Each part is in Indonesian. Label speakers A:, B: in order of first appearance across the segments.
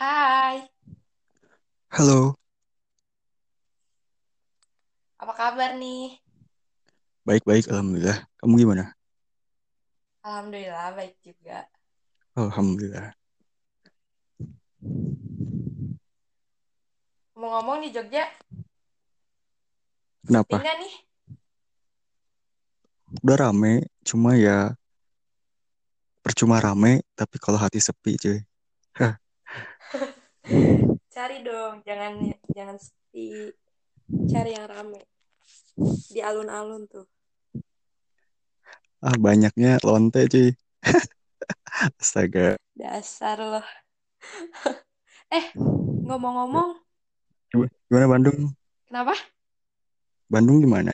A: Hai,
B: Halo,
A: apa kabar nih?
B: baik-baik Alhamdulillah. Kamu gimana?
A: Alhamdulillah baik juga.
B: Alhamdulillah.
A: Ngomong-ngomong di Jogja, sepi
B: Kenapa?
A: nggak nih?
B: Udah rame, cuma ya percuma rame, tapi kalau hati sepi cuy. Hah,
A: Cari dong, jangan jangan sepi, cari yang rame di alun-alun tuh.
B: ah banyaknya lonte cuy. Astaga.
A: Dasar loh. Eh, ngomong-ngomong,
B: Gim- Gimana Bandung?
A: kenapa?
B: Bandung gimana?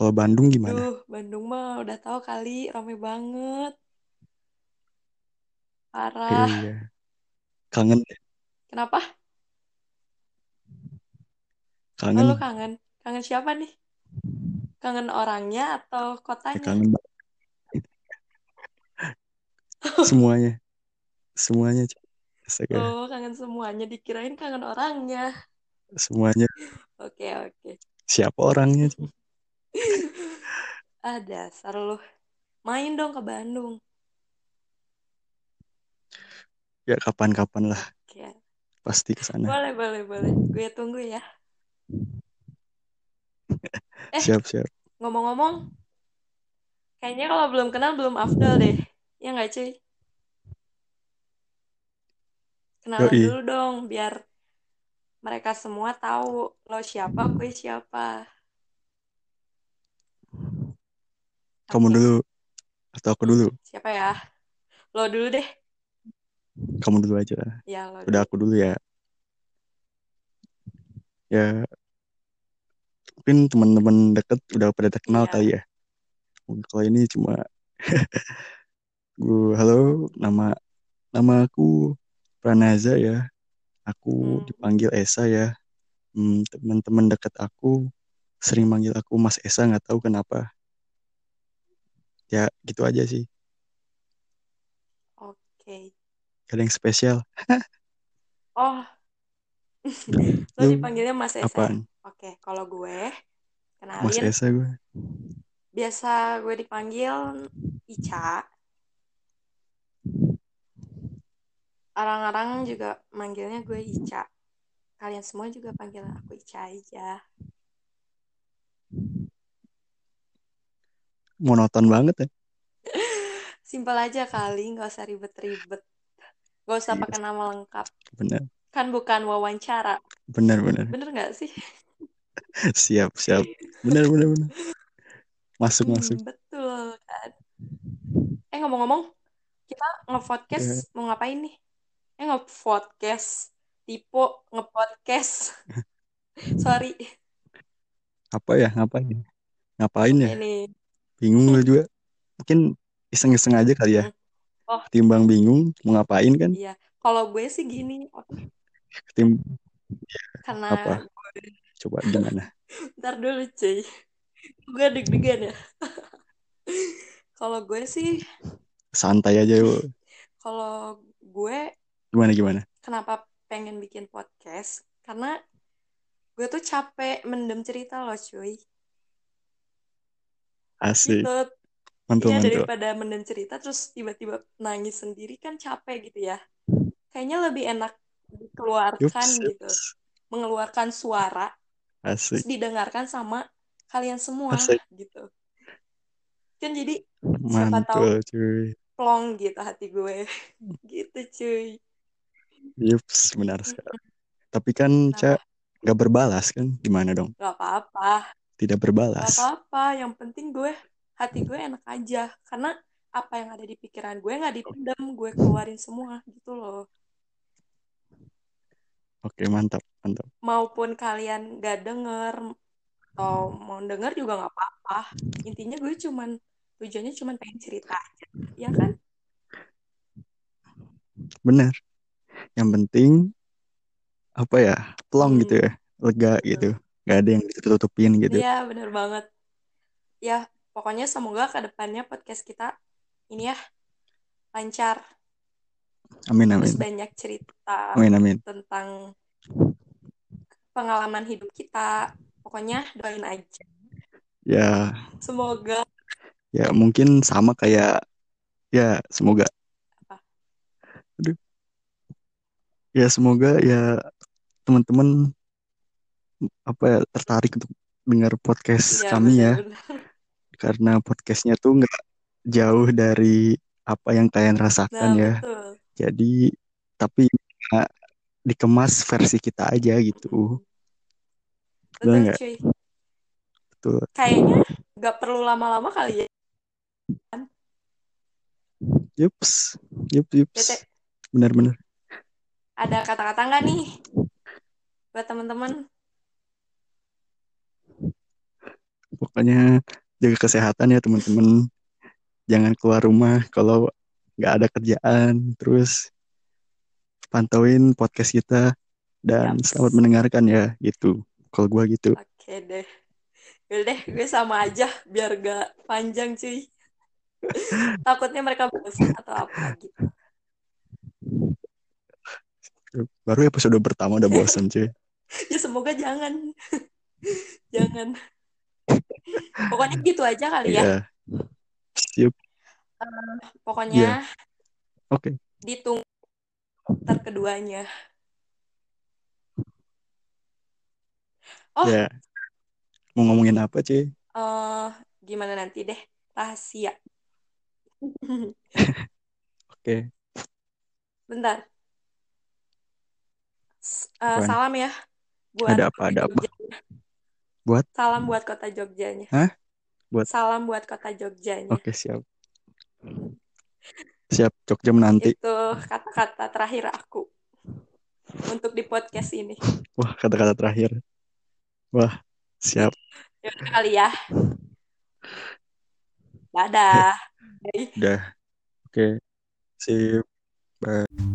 B: Kalau Bandung gimana?
A: Duh, Bandung mah udah tahu kali, rame banget, parah.
B: Iya, kangen,
A: Kenapa? Oh, lu
B: kangen,
A: kangen? Kangen siapa nih? Kangen orangnya atau
B: ya
A: kotanya?
B: kangen banget. Semuanya, semuanya cuy. Astaga,
A: Oh, kangen semuanya, dikirain kangen orangnya.
B: semuanya.
A: Oke, oke.
B: Siapa orangnya cuy?
A: Ah, dasar lu. Main dong ke Bandung.
B: Ya kapan-kapan lah,
A: Oke.
B: pasti ke sana.
A: Boleh, boleh, boleh. Gue tunggu ya. Eh,
B: Siap-siap.
A: ngomong-ngomong, kayaknya kalau belum kenal belum afdol deh. Ya nggak, cuy? Kenalan
B: Yoi,
A: dulu dong, biar mereka semua tahu lo siapa, gue siapa.
B: kamu
A: Oke,
B: dulu atau aku dulu?
A: siapa ya? Lo dulu deh.
B: Kamu dulu aja.
A: Ya, lo
B: Udah
A: dulu.
B: aku dulu ya. Ya, mungkin teman-teman deket udah pada terkenal
A: Iya.
B: kali ya. Mungkin Kalau ini cuma gue, halo, nama nama aku Pranaza ya. Aku
A: Hmm.
B: dipanggil Esa ya. Hmm, teman-teman deket aku sering manggil aku Mas Esa nggak tahu kenapa. Ya gitu aja sih.
A: Oke.
B: Gak ada yang spesial.
A: Oh, lo
B: Lu
A: dipanggilnya Mas Esa ya?
B: apaan?
A: Oke, kalau gue,
B: Mas
A: kenalin.
B: Esa gue.
A: Biasa gue dipanggil Ica. Orang-orang juga manggilnya gue Ica. kalian semua juga panggil aku Ica aja.
B: Monoton banget ya.
A: Simpel aja kali, nggak usah ribet-ribet. Nggak usah
B: Iya,
A: pakai nama lengkap.
B: benar.
A: Kan bukan wawancara.
B: Benar, benar.
A: Bener nggak sih?
B: Siap, siap. Benar, benar, benar. Masuk,
A: Hmm,
B: masuk.
A: betul kan. Eh ngomong-ngomong, kita nge-podcast
B: Ya.
A: mau ngapain nih? Eh nge-podcast. Tipe nge-podcast. Sorry.
B: Apa ya? Ngapain? Ngapain ya?
A: Apa ini?
B: Bingung gue juga. Mungkin iseng-iseng aja kali ya.
A: Hmm. Oh
B: Ketimbang bingung mau ngapain kan?
A: iya. Kalau gue sih gini. apa,
B: Ketim
A: Karena
B: apa? Coba gimana?
A: ntar dulu cuy. Gue deg-degan ya. Kalau gue sih,
B: Santai aja yuk.
A: kalau gue
B: Gimana gimana?
A: kenapa pengen bikin podcast karena gue tuh capek mendem cerita loh cuy gitu
B: Asik.
A: iya
B: Mantul mantul.
A: daripada mendem cerita terus tiba-tiba nangis sendiri kan capek gitu ya kayaknya lebih enak dikeluarkan
B: Yups
A: gitu
B: yups.
A: mengeluarkan suara terus
B: Asik
A: didengarkan sama kalian semua
B: asik.
A: gitu kan jadi siapa tahu
B: Mantul cuy.
A: plong gitu hati gue gitu cuy
B: Yups benar sekali. Tapi kan Ca
A: kenapa
B: nggak berbalas kan? Gimana dong?
A: nggak apa-apa
B: Tidak
A: Gak
B: berbalas.
A: apa-apa, yang penting gue hati gue enak aja karena apa yang ada di pikiran gue nggak dipendam, gue keluarin semua gitu loh.
B: Oke mantap mantap.
A: Maupun kalian gak denger atau
B: Hmm.
A: mau denger juga nggak apa-apa. Intinya gue cuman tujuannya cuman pengen cerita aja, ya
B: Hmm,
A: kan?
B: Benar. Yang penting apa ya? Plong
A: Hmm,
B: gitu ya. Lega
A: betul.
B: gitu. Gak ada yang ditutup-tutupin gitu.
A: Iya, bener banget. Ya, pokoknya semoga ke depannya podcast kita ini ya lancar.
B: Amin amin.
A: terus banyak cerita
B: Amin amin.
A: tentang pengalaman hidup kita. Pokoknya doain aja.
B: Ya
A: Semoga
B: ya mungkin sama kayak ya semoga.
A: Apa?
B: Aduh. Ya semoga ya teman-teman apa ya tertarik untuk dengar
A: Iya,
B: podcast kami ya
A: benar-benar.
B: karena podcastnya tuh nggak jauh dari apa yang kalian
A: Nah,
B: rasakan ya.
A: betul.
B: Jadi tapi ya, dikemas versi kita aja gitu. Betul
A: Betul,
B: nggak?
A: cuy.
B: Betul.
A: Kayaknya nggak perlu lama-lama kali ya.
B: Yups, yup, yups.
A: Bete,
B: Benar-benar.
A: ada kata-kata nggak nih buat teman-teman?
B: Pokoknya jaga kesehatan ya teman-teman. Jangan keluar rumah kalau nggak ada kerjaan. Terus pantauin podcast kita dan
A: Yaps.
B: selamat mendengarkan ya gitu. Kalau gua gitu.
A: Oke deh. Yaudah deh, gue sama aja biar gak panjang cuy. Takutnya mereka bosan atau apa gitu.
B: Baru episode pertama udah bosen cuy.
A: Ya semoga jangan. jangan. Pokoknya gitu aja kali ya.
B: Iya. Yup.
A: Pokoknya
B: Iya. Oke.
A: ditunggu ntar keduanya. Oh.
B: Ya. Mau ngomongin apa cuy?
A: eh gimana nanti deh rahasia.
B: Oke.
A: Bentar. S- eh,
B: Apaan?
A: salam ya buat
B: Ada apa?
A: kota
B: Ada apa?
A: Jogjanya.
B: Buat?
A: Salam buat kota Jogjanya.
B: Hah? Buat? Oh,
A: Salam buat kota Jogjanya.
B: Oke, siap. Siap, Jogja menanti.
A: Itu kata-kata terakhir aku untuk di podcast ini.
B: Wah, kata-kata terakhir. Wah, siap.
A: Ya udah kali ya. Dadah.
B: Udah. Oke. Sip. Bye.